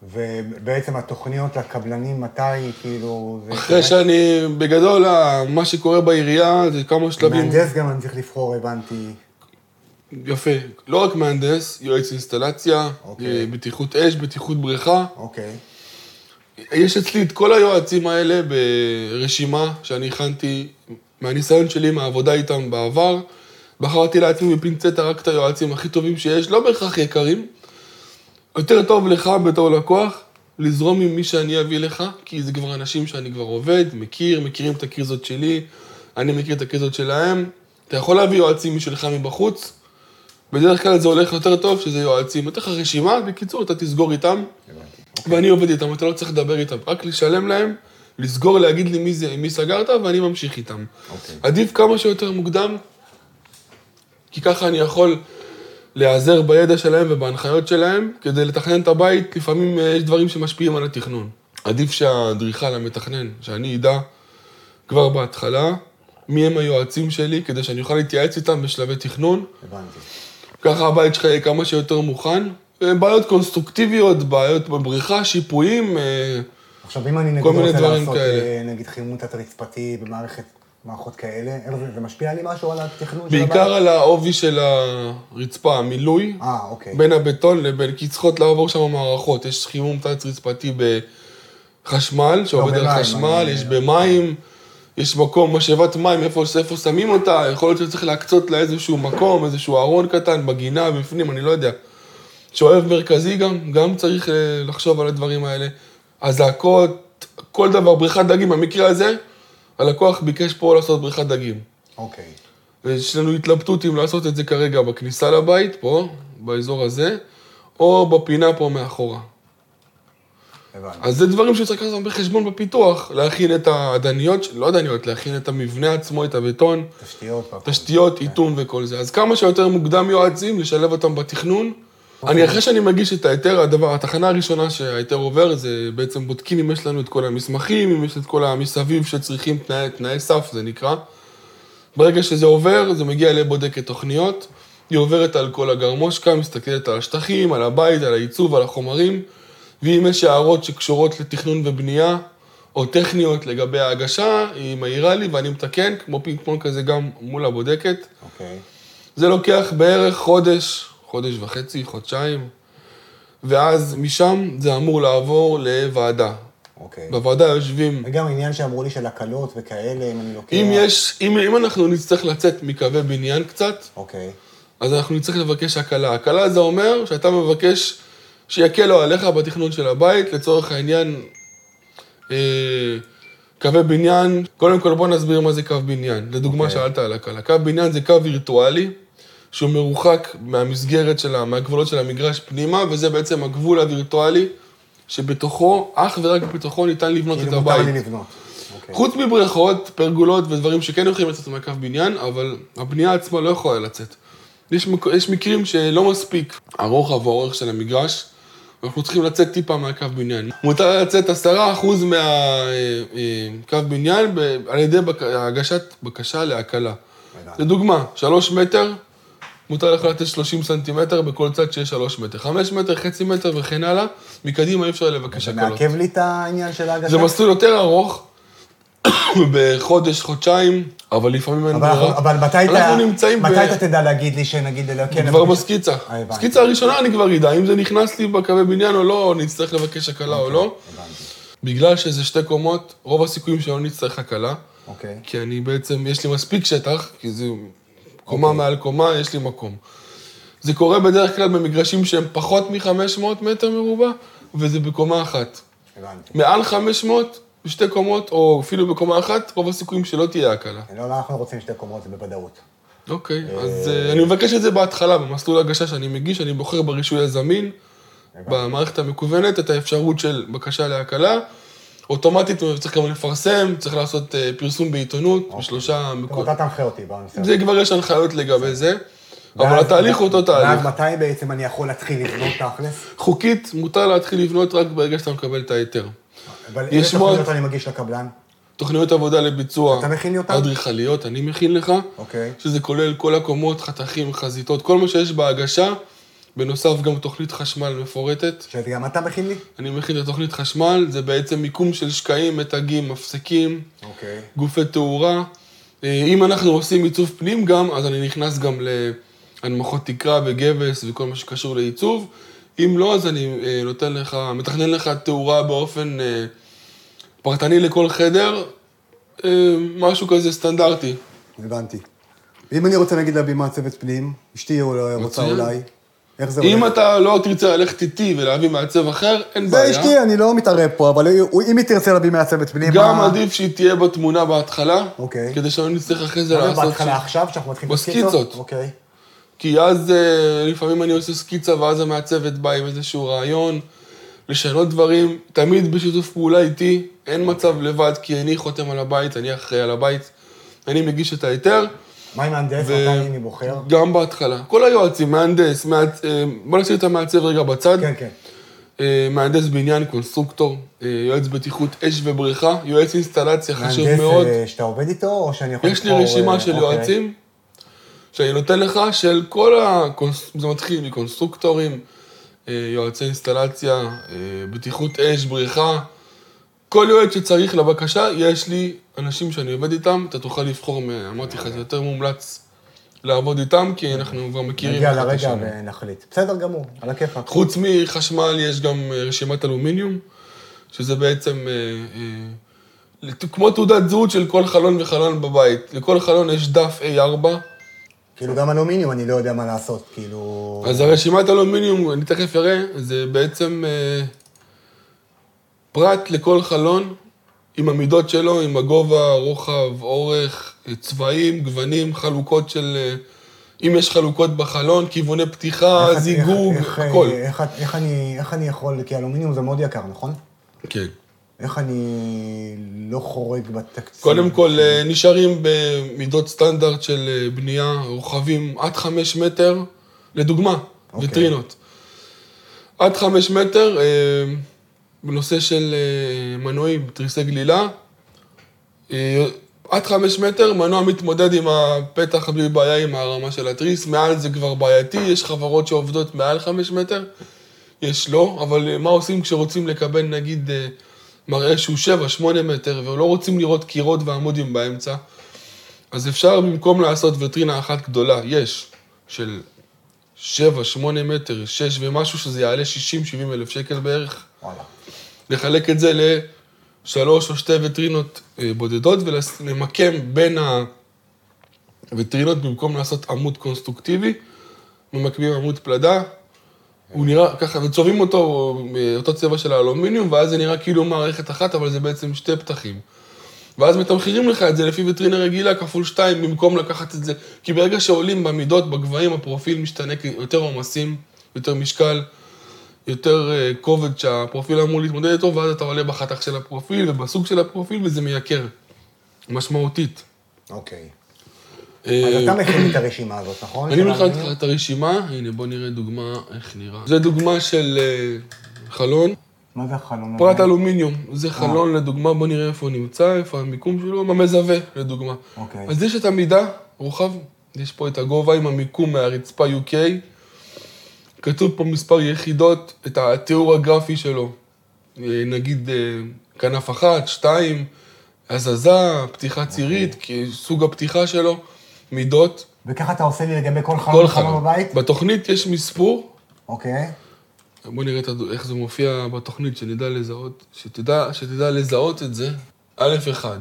C: ובעצם התוכניות לקבלנים, מתי, כאילו... זה-
B: אחרי שאני, בגדול, ה- מה שקורה בעירייה זה כמה שלבים.
C: מהנדס גם אני צריך לבחור, הבנתי.
B: יפה. לא רק מהנדס, יועץ אינסטלציה,
C: אוקיי.
B: אה, בטיחות אש, בטיחות בריכה.
C: אוקיי.
B: יש אצלי את כל היועצים האלה ברשימה שאני הכנתי מהניסיון שלי, מהעבודה איתם בעבר. בחרתי לעצמי בפינצטה רק את היועצים הכי טובים שיש, לא בהכרח יקרים. יותר טוב לך בתור לקוח לזרום עם מי שאני אביא לך, כי זה כבר אנשים שאני כבר עובד, מכיר, מכירים את הקריזות שלי, אני מכיר את הקריזות שלהם. אתה יכול להביא יועצים משלך מבחוץ, בדרך כלל זה הולך יותר טוב שזה יועצים. אני אתן לך רשימה, בקיצור, אתה תסגור איתם. ואני עובד איתם, אתה לא צריך לדבר איתם, רק לשלם להם, לסגור, להגיד לי מי זה, עם מי סגרת, ואני ממשיך איתם.
C: אוקיי.
B: עדיף כמה שיותר מוקדם, כי ככה אני יכול להיעזר בידע שלהם ובהנחיות שלהם, כדי לתכנן את הבית, לפעמים אה, יש דברים שמשפיעים על התכנון. עדיף שהאדריכל, המתכנן, שאני אדע כבר בהתחלה, מי הם היועצים שלי, כדי שאני אוכל להתייעץ איתם בשלבי תכנון.
C: הבנתי.
B: ככה הבית שלך יהיה כמה שיותר מוכן. אה, בעיות קונסטרוקטיביות, בעיות בבריכה, שיפועים. אה,
C: עכשיו, אם אני נגיד
B: כל מיני
C: רוצה
B: דברים
C: לעשות,
B: כאלה.
C: אה, נגיד חימום תת-רצפתי במערכת, מערכות כאלה, איך זה- זה משפיע לי משהו על התכנון של הבית?
B: בעיקר על העובי של הרצפה, המילוי.
C: אה, אוקיי.
B: בין הבטון לבין, כי צריכות לעבור שם מערכות. יש חימום תת-רצפתי בחשמל, שעובד על
C: לא, במים,
B: חשמל,
C: אני- כן.
B: יש במים, יש מקום, משאבת מים, איפה, איפה שמים אותה, יכול להיות שצריך להקצות לה איזשהו מקום, איזשהו ארון קטן, בגינה, בפנים, אני לא יודע. שואב מרכזי גם, גם צריך אה, לחשוב על הדברים האלה. אזעקות, כל דבר, בריכת דגים, במקרה הזה, הלקוח ביקש פה לעשות בריכת דגים.
C: אוקיי.
B: יש לנו התלבטות אם לעשות את זה כרגע בכניסה לבית, פה, באזור הזה, או בפינה פה מאחורה.
C: הבנתי.
B: אז זה דברים שצריך לקחת אותם בחשבון בפיתוח, להכין את העדניות, לא עדניות, להכין את המבנה עצמו, את הבטון,
C: תשתיות. והכל.
B: תשתיות, איטום וכל זה. אז כמה שיותר מוקדם יועצים, לשלב אותם בתכנון. אני, אחרי שאני מגיש את ההיתר, הדבר, התחנה הראשונה שההיתר עובר, זה בעצם בודקים אם יש לנו את כל המסמכים, אם יש את כל המסביב שצריכים, תנאי, תנאי סף, זה נקרא. ברגע שזה עובר, זה מגיע לבודקת תוכניות, היא עוברת על כל הגרמושקה, מסתכלת על השטחים, על הבית, על העיצוב, על החומרים, ואם יש הערות שקשורות לתכנון ובנייה, או טכניות לגבי ההגשה, היא מעירה לי ואני מתקן, כמו פינג פונג כזה גם מול הבודקת.
C: אוקיי.
B: זה לוקח בערך חודש, חודש וחצי, חודשיים, ואז משם זה אמור לעבור לוועדה.
C: אוקיי.
B: בוועדה יושבים
C: וגם עניין שאמרו לי של הקלות וכאלה, אם אני לוקח...
B: אם יש, אם, אם אנחנו נצטרך לצאת מקווי בניין קצת,
C: אוקיי.
B: אז אנחנו נצטרך לבקש הקלה. הקלה זה אומר שאתה מבקש שיקלו עליך בתכנון של הבית, לצורך העניין, אה, קווי בניין. קודם כל בוא נסביר מה זה קו בניין. לדוגמה okay.
C: אוקיי.
B: שאלת על הקלה. קו בניין זה קו וירטואלי, שהוא מרוחק מהמסגרת של ה... מהגבולות של המגרש פנימה, וזה בעצם הגבול הווירטואלי, שבתוכו, אך ורק בתוכו ניתן לבנות את
C: כאילו
B: הבית.
C: מותר לי לבנות. אוקיי.
B: חוץ מבריכות, פרגולות ודברים שכן יכולים לצאת מהקו בניין, אבל הבנייה עצמה לא יכולה לצאת. יש, מק... יש מקרים שלא מספיק הרוחב או האורך של המגרש, ואנחנו צריכים לצאת טיפה מהקו בניין. מותר לצאת 10% מהקו אה, בניין ב... על ידי בק... הגשת בקשה להקלה.
C: הבנתי.
B: לדוגמה, 3 מטר, מותר לך לתת 30 סנטימטר בכל צד שיש 3 מטר. 5 מטר, חצי מטר וכן הלאה, מקדימה אי אפשר לבקש
C: זה
B: הקלות.
C: מעכב לי את העניין של ההגשה?
B: זה מסלול יותר ארוך, בחודש, חודשיים, אבל לפעמים אין
C: אבל אנחנו-
B: ברירה.
C: אבל מתי אתה...
B: אנחנו נמצאים ב...
C: מתי אתה תדע להגיד לי שנגיד... אלא- כן,
B: כבר
C: אבל-
B: בסקיצה.
C: אה, הבנתי.
B: בסקיצה הראשונה אני כבר אדע, אם זה נכנס לי בקווי בניין או לא, או נצטרך לבקש הקלה
C: אוקיי.
B: או לא.
C: הבנתי.
B: בגלל שזה שתי קומות, רוב הסיכויים שלא נצטרך הקלה,
C: אוקיי.
B: כי אני בעצם, יש לי מספיק שטח, כי זה קומה
C: אוקיי.
B: מעל קומה, יש לי מקום. זה קורה בדרך כלל במגרשים שהם פחות מ-500 מטר מרובע, וזה בקומה אחת.
C: הבנתי.
B: מעל 500, בשתי קומות, או אפילו בקומה אחת, רוב הסיכויים שלא תהיה הקלה.
C: לא, לא, אנחנו רוצים שתי קומות, זה בוודאות.
B: אוקיי, אז אה, אני מבקש את זה בהתחלה, במסלול הגשה שאני מגיש, אני בוחר ברישוי הזמין, במערכת המקוונת, את האפשרות של בקשה להקלה. אוטומטית צריך גם לפרסם, צריך לעשות אה, פרסום בעיתונות,
C: אוקיי.
B: בשלושה
C: טוב,
B: מקומות.
C: אתה תנחה אותי בנושא הזה.
B: זה כבר יש הנחיות לגבי זה, אבל
C: אוקיי. ואז-
B: התהליך הוא אותו תהליך.
C: ואז מתי בעצם אני יכול להתחיל לבנות תכלס?
B: חוקית, מותר להתחיל לבנות רק ברגע שאתה מקבל את ההיתר.
C: אבל איזה
B: יש מאוד-
C: תוכניות אני מגיש לקבלן?
B: תוכניות עבודה לביצוע.
C: אתה מכין לי אותן?
B: אדריכליות, אני מכין לך.
C: אוקיי.
B: שזה כולל כל הקומות, חתכים, חזיתות, כל מה שיש בהגשה. בנוסף גם תוכנית חשמל מפורטת.
C: שזה גם אתה מכין לי?
B: אני מכין את התוכנית חשמל, זה בעצם מיקום של שקעים, מתגים, מפסקים,
C: אוקיי.
B: גופי תאורה. אה, אם אנחנו עושים עיצוב פנים גם, אז אני נכנס גם להנמכות תקרה וגבס וכל מה שקשור לעיצוב. אם לא, אז אני אה, נותן לך, מתכנן לך תאורה באופן אה, פרטני לכל חדר, אה, משהו כזה סטנדרטי.
C: הבנתי. אם אני רוצה נגיד להביא מעצבת פנים, אשתי אולי- רוצה
B: מצוין.
C: אולי, איך זה
B: אם
C: הולך?
B: אתה לא תרצה ללכת איתי ולהביא מעצב אחר, אין
C: זה
B: בעיה.
C: אשתי, אני לא מתערב פה, אבל הוא- אם היא תרצה להביא מעצבת פנים...
B: גם
C: מה-
B: עדיף שהיא תהיה בתמונה בהתחלה,
C: אוקיי.
B: כדי שלא נצטרך אחרי זה
C: מה זה
B: לעשות...
C: בהתחלה
B: ש-
C: עכשיו, שאנחנו מתחילים
B: בסקיצות.
C: אוקיי.
B: כי אז אה, לפעמים אני עושה סקיצה ואז המעצבת באה עם איזשהו רעיון, לשנות דברים, תמיד בשיתוף פעולה איתי, אין מצב לבד, כי אני חותם על הבית, אני אחראי על הבית, אני מגיש את ההיתר.
C: מה עם מהנדס,
B: ו-
C: מתי אני בוחר?
B: גם בהתחלה. כל היועצים, מהנדס, מעצ... אה, בוא נשאיר את המעצב רגע בצד.
C: כן, כן.
B: אה, מהנדס בניין, קונסטרוקטור, אה, יועץ בטיחות אש ובריכה, יועץ אינסטלציה, חשוב
C: מהנדס
B: מאוד.
C: אה, שאתה עובד איתו, או שאני יכול
B: יש לי רשימה
C: אה,
B: של
C: אוקיי.
B: יועצים שאני נותן לך של כל ה... זה מתחיל מקונסטרוקטורים, אה, יועצי אינסטלציה, אה, בטיחות אש, בריכה. כל יועץ שצריך לבקשה, יש לי אנשים שאני עובד איתם, אתה תוכל לבחור מהם. אמרתי לך, זה יותר מומלץ לעבוד איתם, כי אנחנו כבר מכירים
C: נגיע
B: אחד את
C: לרגע
B: השני.
C: ונחליט. בסדר גמור, על הכיפאק.
B: חוץ מחשמל יש גם אה, רשימת אלומיניום, שזה בעצם אה, אה, לת- כמו תעודת זהות של כל חלון וחלון בבית. לכל חלון יש דף A4,
C: כאילו גם אלומיניום, אני לא יודע מה לעשות, כאילו...
B: אז הרשימת אלומיניום, אני תכף אראה, זה בעצם אה, פרט לכל חלון עם המידות שלו, עם הגובה, רוחב, אורך, אה, צבעים, גוונים, חלוקות של... אה, אם יש חלוקות בחלון, כיווני פתיחה,
C: איך אני-
B: זיגוג,
C: איך- איך-
B: הכל.
C: איך- איך אני- איך אני יכול, כי אלומיניום זה מאוד יקר, נכון?
B: כן.
C: איך אני לא חורג בתקציב?
B: קודם כל, אה, נשארים במידות סטנדרט של אה, בנייה, רוחבים עד חמש מטר, לדוגמה,
C: אוקיי.
B: ויטרינות. עד חמש מטר, אה, בנושא של אה, מנועים, תריסי גלילה, אה, עד חמש מטר, מנוע מתמודד עם הפתח בלי בעיה עם הרמה של התריס, מעל זה כבר בעייתי, יש חברות שעובדות מעל חמש מטר, יש לא, אבל אה, מה עושים כשרוצים לקבל נגיד אה, מראה שהוא שבע, שמונה מטר, ולא רוצים לראות קירות ועמודים באמצע, אז אפשר במקום לעשות וטרינה אחת גדולה, יש, של שבע, שמונה מטר, שש ומשהו, שזה יעלה 60-70 אלף שקל בערך.
C: וואלה.
B: לחלק את זה לשלוש או שתי וטרינות אה, בודדות ולמקם בין הווטרינות במקום לעשות עמוד קונסטרוקטיבי, ממקמים עמוד פלדה, הוא נראה ככה, וצובעים אותו מאותו צבע של האלומיניום, ואז זה נראה כאילו מערכת אחת, אבל זה בעצם שתי פתחים. ואז מתמחרים לך את זה לפי וטרינה רגילה כפול שתיים, במקום לקחת את זה. כי ברגע שעולים במידות, בגבהים, הפרופיל משתנה, כי יותר עומסים, יותר משקל, יותר אה, כובד שהפרופיל אמור להתמודד איתו, ואז אתה עולה בחתך של הפרופיל ובסוג של הפרופיל, וזה מייקר, משמעותית.
C: אוקיי. אז
B: אה,
C: אתה מכין את הרשימה הזאת, נכון?
B: אני
C: של
B: מכיר
C: האלומיניום?
B: את הרשימה, הנה בוא נראה דוגמה איך נראה. זה דוגמה של אה, חלון,
C: מה זה החלום?
B: פרט אלומיניום,
C: אה.
B: זה חלון לדוגמה, בוא נראה איפה הוא נמצא, איפה המיקום שלו, במזווה לדוגמה.
C: אוקיי.
B: אז יש את המידה, רוחב, יש פה את הגובה עם המיקום מהרצפה UK, כתוב פה מספר יחידות, את התיאור הגרפי שלו, אה, נגיד אה, כנף אחת, שתיים, הזזה, פתיחה
C: אוקיי.
B: צירית, כי סוג הפתיחה שלו, מידות,
C: וככה אתה עושה לי לגבי כל חלום
B: כל חלון.
C: וחלום בבית?
B: בתוכנית יש מספור,
C: אוקיי.
B: בוא נראה את הדו- איך זה מופיע בתוכנית, שנדע לזהות, שתדע, שתדע לזהות את זה. א' אחד.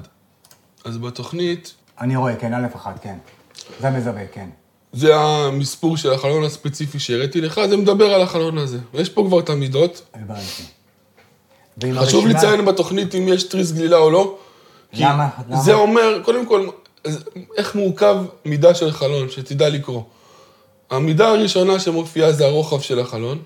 B: אז בתוכנית,
C: אני רואה, כן, א' אחד, כן. זה המזווה, כן.
B: זה המספור של החלון הספציפי שהראיתי לך, זה מדבר על החלון הזה. יש פה כבר את המידות.
C: הבנתי. ועם
B: חשוב
C: הרשימה-
B: לציין בתוכנית אם יש תריס גלילה או לא. כי
C: למה? למה?
B: זה אומר, קודם כל, אז איך מורכב מידה של חלון, שתדע לקרוא. המידה הראשונה שמופיעה זה הרוחב של החלון.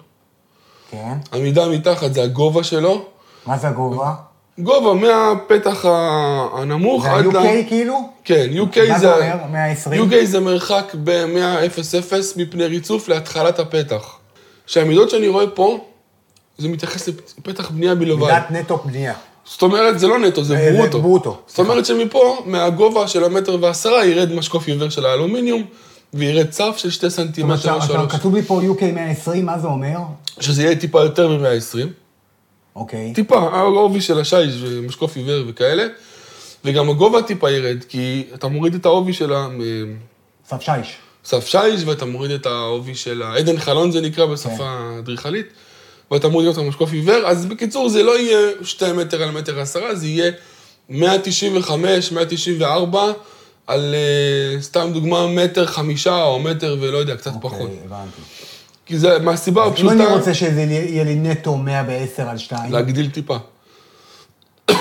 C: כן.
B: המידה מתחת זה הגובה שלו.
C: מה זה הגובה?
B: גובה מהפתח ה- הנמוך
C: זה
B: עד ל...
C: ה-UK כאילו?
B: כן, UK
C: מה
B: זה...
C: זה אומר? 120?
B: UK זה מרחק ב-100.00 מפני ריצוף להתחלת הפתח. שהמידות שאני רואה פה, זה מתייחס לפתח בנייה בלבד.
C: מידת נטו בנייה.
B: זאת אומרת, זה לא נטו,
C: אה,
B: זה
C: זה
B: ברוטו.
C: ברוטו,
B: זאת אומרת שמפה, מהגובה של המטר ועשרה, ירד משקוף עיוור של האלומיניום, וירד סף של שתי סנטימטר או
C: עכשיו,
B: שלוש.
C: כתוב לי פה UK 120, מה זה אומר?
B: שזה יהיה טיפה יותר מ-120.
C: אוקיי.
B: טיפה, העובי של השיש ומשקוף עיוור וכאלה, וגם הגובה טיפה ירד, כי אתה מוריד את העובי של
C: סף שיש.
B: הסף שיש, ואתה מוריד את העובי של העדן חלון, זה נקרא
C: כן.
B: בשפה האדריכלית, ואתה מוריד אותו משקוף עיוור, אז בקיצור, זה לא יהיה 2 מטר על מטר עשרה, זה יהיה 195, 194, על אה, סתם דוגמה, מטר חמישה או מטר ולא יודע, קצת פחות.
C: אוקיי, הבנתי.
B: כי זה מהסיבה
C: אם
B: הפשוטה...
C: אני רוצה שזה יהיה לי נטו 110 על 2,
B: להגדיל טיפה. אה,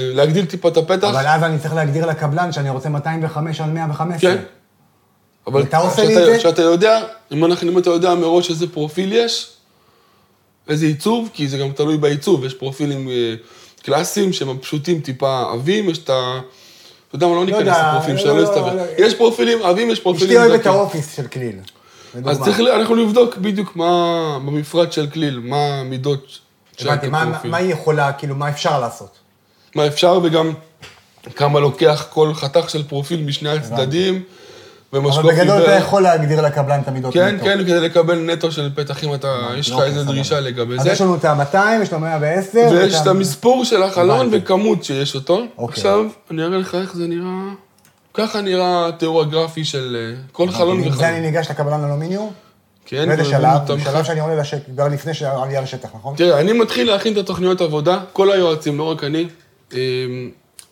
B: להגדיל טיפה את הפתח.
C: אבל אז אני צריך להגדיר לקבלן שאני רוצה 205 על 115.
B: כן. אבל
C: אתה עושה לי
B: כשאתה-
C: את זה?
B: כשאתה יודע, אם אנחנו- אם אתה יודע מראש איזה פרופיל יש, איזה עיצוב, כי זה גם תלוי בעיצוב, יש פרופילים אה, קלאסיים שהם פשוטים טיפה עבים, יש את ה... אתה יודע מה, לא ניכנס
C: יודע,
B: לפרופילים
C: לא,
B: שלא
C: לא,
B: יסתבר.
C: לא,
B: יש פרופילים עבים, יש פרופילים...
C: אשתי אוהבת את
B: דקים.
C: האופיס של כליל.
B: אז
C: לדוגמה.
B: צריך, ל- אנחנו נבדוק בדיוק מה במפרט של כליל, מה המידות של
C: הבנתי, מה-
B: הפרופיל.
C: מה היא יכולה, כאילו, מה אפשר לעשות?
B: מה אפשר וגם כמה לוקח כל חתך של פרופיל משני הצדדים, ומשקוף
C: אבל בגדול אתה
B: עיוור.
C: יכול להגדיר לקבלן את המידות
B: כן,
C: נטו.
B: כן, כדי לקבל נטו של פתח, אם אתה, יש לך
C: אוקיי,
B: איזה
C: סבבה.
B: דרישה לגבי
C: אז
B: זה.
C: יש לנו את ה-200, יש את ה-110.
B: ויש את המספור של החלון
C: הבנתי.
B: וכמות שיש אותו.
C: אוקיי.
B: עכשיו, אני אראה לך איך זה נראה. ככה נראה התיאור הגרפי של אה, כל חלון
C: עם זה אני
B: וחלון.
C: ניגש לקבלן אלומיניום.
B: כן,
C: באיזה
B: ובונים
C: שלב?
B: אותם
C: בשלב שאני עולה לשטח, כבר לפני שהעלייה לשטח, נכון?
B: תראה, אני מתחיל להכין את התוכניות עבודה, כל היועצים, לא רק אני. אמ,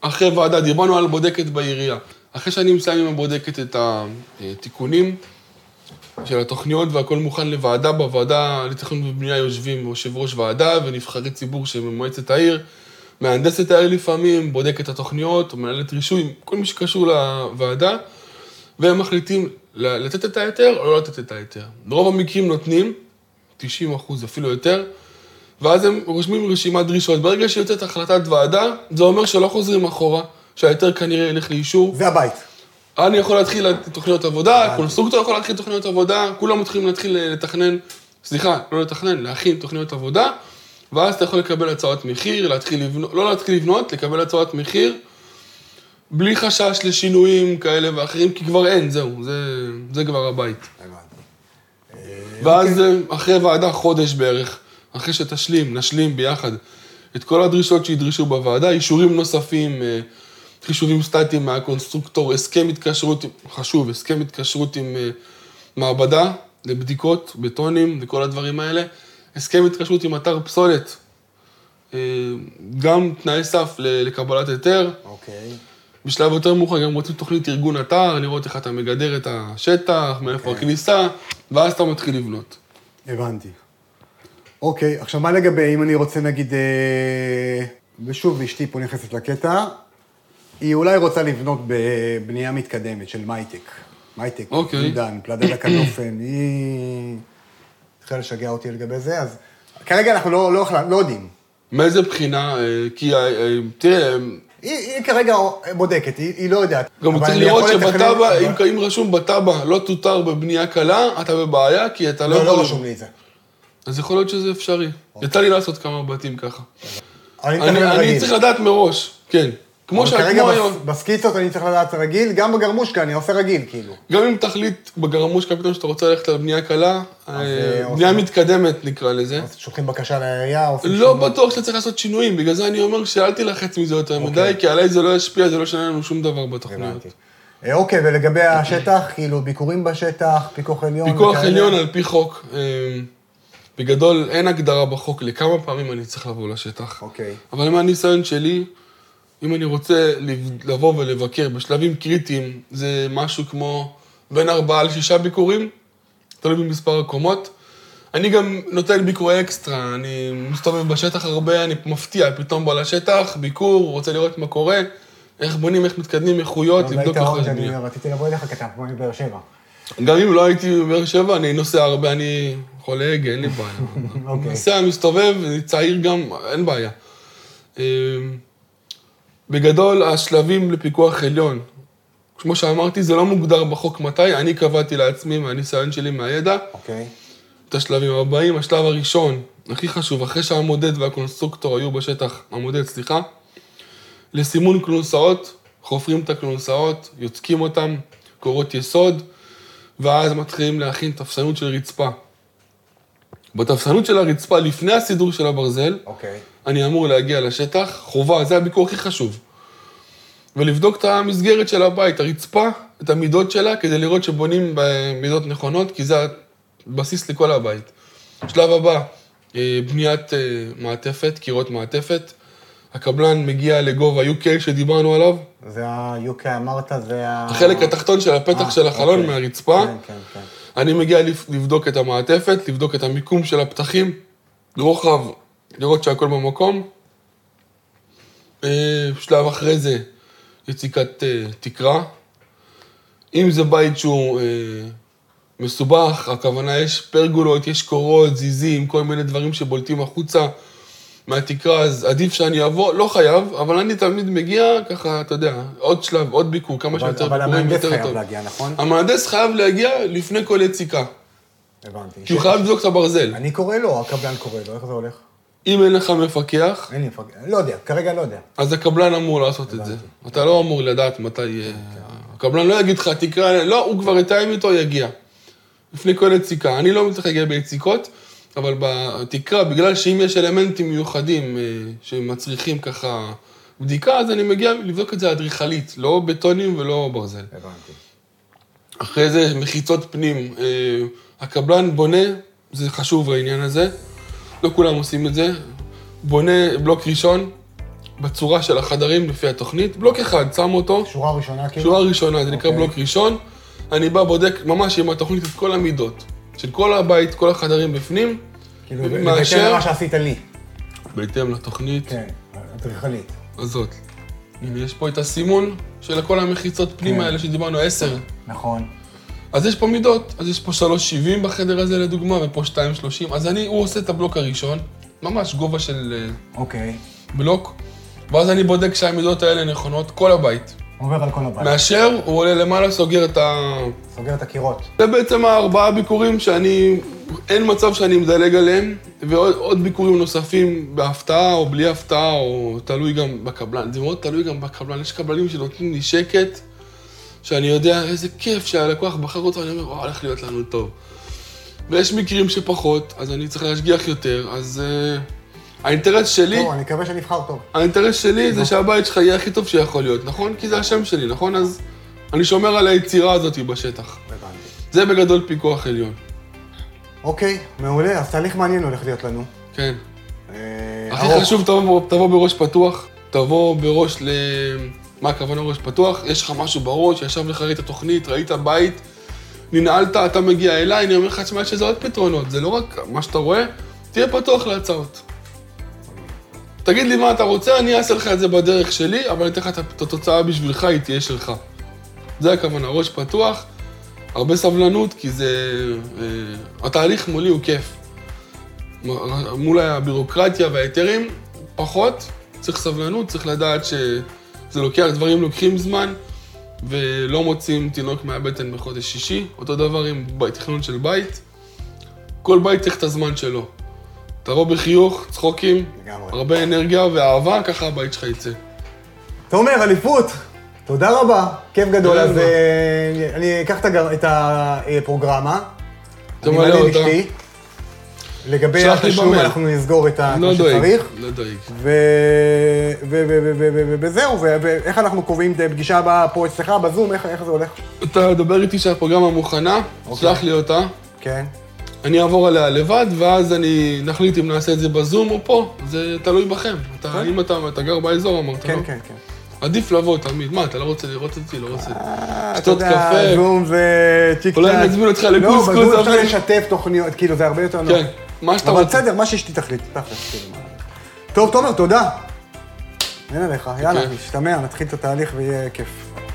B: אחרי ועדה, דיברנו על בודקת בעירייה. אחרי שאני מסיים עם הבודקת את התיקונים של התוכניות והכל מוכן לוועדה, בוועדה לתכנון ובנייה יושבים יושב ראש ועדה ונבחרי ציבור שבמועצת העיר, מהנדסת העיר לפעמים, בודקת את התוכניות, מנהלת רישוי, כל מי שקשור לוועדה. והם מחליטים ל- לתת את ההיתר או לא לתת את ההיתר. ברוב המקרים נותנים, 90 אחוז, אפילו יותר, ואז הם רושמים רשימת דרישות. ברגע שיוצאת החלטת ועדה, זה אומר שלא חוזרים אחורה, שההיתר כנראה ילך לאישור.
C: זה הבית.
B: אני יכול להתחיל תוכניות עבודה, הקונסטרוקטור יכול להתחיל תוכניות עבודה, כולם מתחילים להתחיל אה, לתכנן, סליחה, לא לתכנן, להכין תוכניות עבודה, ואז אתה יכול לקבל הצעות מחיר, להתחיל לבנות, לא להתחיל לבנות, לקבל הצעות מחיר, בלי חשש לשינויים כאלה ואחרים, כי כבר אין, זהו, זה, זה כבר הבית. ואז אה, אחרי ועדה, חודש בערך, אחרי שתשלים, נשלים ביחד את כל הדרישות שידרשו בוועדה, אישורים נוספים, אה, חישובים סטטיים מהקונסטרוקטור, הסכם התקשרות, חשוב, הסכם התקשרות עם אה, מעבדה לבדיקות, בטונים וכל הדברים האלה, הסכם התקשרות עם אתר פסולת, אה, גם תנאי סף ל- לקבלת היתר.
C: אוקיי.
B: בשלב יותר מאוחר גם רוצים תוכנית ארגון אתר, לראות איך אתה מגדר את השטח, מאיפה הכניסה, ואז אתה מתחיל לבנות.
C: הבנתי. אוקיי, עכשיו מה לגבי אם אני רוצה נגיד, אה, ושוב אשתי פה נכנסת לקטע, היא אולי רוצה לבנות בבנייה מתקדמת של מייטק. מייטק,
B: אוקיי.
C: עידן, פלדה לקדופן, היא התחילה לשגע אותי לגבי זה, אז כרגע אנחנו לא, לא, החלט- לא יודעים.
B: מאיזה בחינה? אה, כי אה, אה, תראה,
C: היא, היא כרגע בודקת, היא, היא לא יודעת.
B: גם
C: אבל
B: צריך
C: אני
B: לראות
C: יכול לתכנן- לא,
B: שבתב"ע, אם-
C: אבל-
B: אם רשום בתב"ע לא תותר בבנייה קלה, אתה בבעיה, כי אתה לא
C: לא,
B: יכול...
C: לא רשום אוקיי. לי את זה.
B: אז יכול להיות שזה אפשרי. יצא לי לעשות כמה בתים ככה.
C: אבל אני מתכנן
B: אני אני
C: רגיל.
B: צריך לדעת מראש, כן. כמו
C: אבל
B: שאת
C: כרגע
B: כמו
C: בס-
B: היום.
C: בסקיצות אני צריך לדעת רגיל, גם בגרמושקה אני עושה רגיל, כאילו.
B: גם אם תחליט בגרמושקה פתאום שאתה רוצה ללכת על בנייה קלה, אה,
C: אה, אוקיי.
B: בנייה
C: עושים-
B: מתקדמת נקרא לזה.
C: אז שולחים בקשה לעירייה, עושים
B: לא בטוח שאתה צריך לעשות שינויים, בגלל זה אני אומר שאל תילחץ מזה יותר מדי, כי עליי זה לא ישפיע, זה לא ישנה לנו שום דבר בתוכניות.
C: אוקיי. הבנתי. אה, אוקיי, ולגבי השטח, כאילו, ביקורים בשטח, פיקוח עליון.
B: פיקוח
C: וכאלה? לא,
B: עליון על פי חוק, אה, בגדול אין הגדרה בחוק לכמה פעמים אני צריך לבוא לשטח.
C: אוקיי.
B: אבל מהניסיון שלי, אם אני רוצה לב- לבוא ולבקר בשלבים קריטיים, זה משהו כמו בין ארבעה לשישה ביקורים, תלוי במספר הקומות. אני גם נותן ביקורי אקסטרה, אני מסתובב בשטח הרבה, אני מפתיע, פתאום בא לשטח, ביקור, רוצה לראות מה קורה, איך בונים, איך מתקדמים, איכויות,
C: אבל זה
B: לבדוק
C: היתרון
B: איך
C: שאני
B: בנייה.
C: רציתי לבוא אליך, כי אתה פה מבאר שבע.
B: גם אם לא הייתי בבאר שבע, אני נוסע הרבה, אני חולה הגה, אין לי בעיה.
C: אוקיי.
B: נוסע, מסתובב, אני צעיר גם, אין בעיה. אמ, בגדול, השלבים לפיקוח עליון, כמו שאמרתי, זה לא מוגדר בחוק מתי, אני קבעתי לעצמי מהניסיון שלי, מהידע,
C: אוקיי.
B: את השלבים הבאים. השלב הראשון, הכי חשוב, אחרי שהמודד והקונסטרוקטור היו בשטח, המודד, סליחה, לסימון כלונסאות, חופרים את הכלונסאות, יוצקים אותם, קורות יסוד, ואז מתחילים להכין תפסנות של רצפה. בתפסנות של הרצפה, לפני הסידור של הברזל,
C: אוקיי.
B: אני אמור להגיע לשטח, חובה, זה הביקור הכי חשוב. ולבדוק את המסגרת של הבית, הרצפה, את המידות שלה, כדי לראות שבונים במידות נכונות, כי זה הבסיס לכל הבית. שלב הבא, אה, בניית אה, מעטפת, קירות מעטפת. הקבלן מגיע לגובה UK שדיברנו
C: אה.
B: עליו.
C: זה ה-UK אמרת, זה ה...
B: החלק התחתון של הפתח
C: אה,
B: של החלון
C: אוקיי.
B: מהרצפה.
C: כן, כן, כן.
B: אני מגיע לפ- לבדוק את המעטפת, לבדוק את המיקום של הפתחים, רוחב, לראות שהכל במקום. אה, שלב אחרי זה, יציקת אה, תקרה. אם זה בית שהוא אה, מסובך, הכוונה יש פרגולות, יש קורות, זיזים, כל מיני דברים שבולטים החוצה מהתקרה, אז עדיף שאני אבוא, לא חייב, אבל אני תמיד מגיע ככה, אתה יודע, עוד שלב, עוד ביקור, כמה
C: אבל-
B: שיותר
C: אבל
B: ביקורים,
C: המהנדס
B: יותר
C: חייב
B: טוב.
C: להגיע, נכון?
B: המהנדס חייב להגיע לפני כל יציקה,
C: הבנתי.
B: כי הוא חייב לבדוק את הברזל.
C: אני קורא לו, הקבלן קורא לו, איך זה הולך?
B: אם אין לך מפקח,
C: אין לי מפגע, לא יודע, כרגע לא יודע.
B: אז הקבלן אמור לעשות את זה. אתה לא אמור לדעת מתי אה, הקבלן לא יגיד לך, תקרא, לא, הוא כבר יתאם איתו, יגיע. לפני כל יציקה. אני לא מתחיל להגיע ביציקות, אבל בתקרה, בגלל שאם יש אלמנטים מיוחדים אה, שמצריכים ככה בדיקה, אז אני מגיע לבדוק את זה אדריכלית, לא בטונים ולא ברזל.
A: הבנתי.
B: אחרי זה מחיצות פנים. אה, הקבלן בונה, זה חשוב העניין הזה, לא כולם עושים את זה, בונה בלוק ראשון בצורה של החדרים לפי התוכנית, בלוק אחד, שם אותו,
C: שורה ראשונה, כאילו?
B: שורה ראשונה, זה נקרא
C: אוקיי.
B: בלוק ראשון, אני בא, בודק ממש עם התוכנית את כל המידות, של כל הבית, כל החדרים בפנים,
C: כאילו,
B: ומאשר-
C: בהתאם למה שעשית לי.
B: בהתאם לתוכנית
C: כן, אדריכלית.
B: הזאת. הנה, יש פה את הסימון של כל המחיצות פנים
C: כן.
B: האלה שדיברנו, עשר.
C: נכון.
B: אז יש פה מידות, אז יש פה 3.70 בחדר הזה לדוגמה, ופה 2.30, אז אני, הוא עושה את הבלוק הראשון, ממש גובה של
C: אוקיי.
B: אה, בלוק, ואז אני בודק שהמידות האלה נכונות, כל הבית.
C: עובר על כל הבית.
B: מאשר, הוא עולה למעלה, סוגר את ה...
C: סוגר את הקירות.
B: זה בעצם הארבעה ביקורים שאני, אין מצב שאני מדלג עליהם, ועוד עוד ביקורים נוספים בהפתעה או בלי הפתעה, או תלוי גם בקבלן. זה מאוד תלוי גם בקבלן. יש קבלנים שנותנים לי שקט, שאני יודע איזה כיף שהלקוח בחר אותו, אני אומר, וואו, הולך להיות לנו טוב. ויש מקרים שפחות, אז אני צריך להשגיח יותר, אז uh, האינטרס שלי...
C: טוב, לא, אני מקווה שנבחר טוב.
B: האינטרס שלי זה שהבית שלך יהיה הכי טוב שיכול להיות, נכון? כי זה השם שלי, נכון? אז אני שומר על היצירה הזאת בשטח.
C: הבנתי.
B: זה בגדול פיקוח עליון.
C: אוקיי, מעולה, אז תהליך מעניין הולך להיות לנו.
B: כן.
C: אה,
B: הכי
C: ארוך.
B: חשוב, תבוא, תבוא בראש פתוח, תבוא בראש ל... מה הכוונה ראש פתוח? יש לך משהו בראש, ישב לך, ראית תוכנית, ראית בית, ננעלת, אתה מגיע אליי, אני אומר לך, תשמע, יש לזה עוד פתרונות, זה לא רק מה שאתה רואה, תהיה פתוח להצעות. תגיד לי מה אתה רוצה, אני אעשה לך את זה בדרך שלי, אבל אני אתן לך את הת- התוצאה בשבילך, היא תהיה שלך. זה הכוונה, ראש פתוח, הרבה סבלנות, כי זה... אה, התהליך מולי הוא כיף. מול הבירוקרטיה וההיתרים, פחות. צריך סבלנות, צריך לדעת שזה לוקח, דברים לוקחים זמן, ולא מוצאים תינוק מהבטן בחודש שישי. אותו דבר עם בית- תכנון של בית. כל בית צריך את הזמן שלו. תבוא בחיוך, צחוקים,
C: לגמרי.
B: הרבה אנרגיה ואהבה, ככה הבית שלך יצא.
C: תומר, אליפות, תודה רבה, כיף גדול.
B: תודה
C: אז
B: רבה.
C: אה, אני אקח את הגר- את הפרוגרמה.
B: אתה
C: אני
B: מעלה
C: מעלה עם
B: אותה.
C: אשתי. לגבי
B: לא, שלח לי
C: התשלום,
B: במייל.
C: אנחנו נסגור את ה...
B: לא
C: כמו
B: דואג,
C: שצריך.
B: לא דואג.
C: ו- ו- ו- ו- ו- ו- וזהו, ו- ואיך אנחנו קובעים את הפגישה הבאה פה אצלך, בזום, איך איך זה הולך?
B: אתה דבר איתי שהפרוגרמה מוכנה,
C: אוקיי.
B: שלח לי אותה.
C: כן.
B: אני אעבור עליה לבד, ואז אני נחליט אם נעשה את זה בזום או פה, זה תלוי בכם. אתה, אם אתה, אתה גר באזור, אמרת,
C: כן,
B: לא?
C: כן, כן.
B: עדיף לבוא תמיד. מה, אתה לא רוצה לראות אותי? לא רוצה.
C: אה,
B: שתות
C: אתה יודע,
B: קפה.
C: זום זה צ'יק
B: אולי
C: צ'אק.
B: נזמין אותך
C: לא,
B: לקוסקוס,
C: בזום אפשר
B: אבל-
C: לשתף תוכניות, כאילו, זה הרבה יותר נוח.
B: כן, מה שאתה
C: אבל
B: רוצה.
C: בסדר, מה שאשתי תחליט, תכלס, כאילו. מה. טוב, תומר, תודה. אין עליך, יאללה,
B: בכיף.
C: נשתמע, נתחיל את התהליך ויהיה כיף.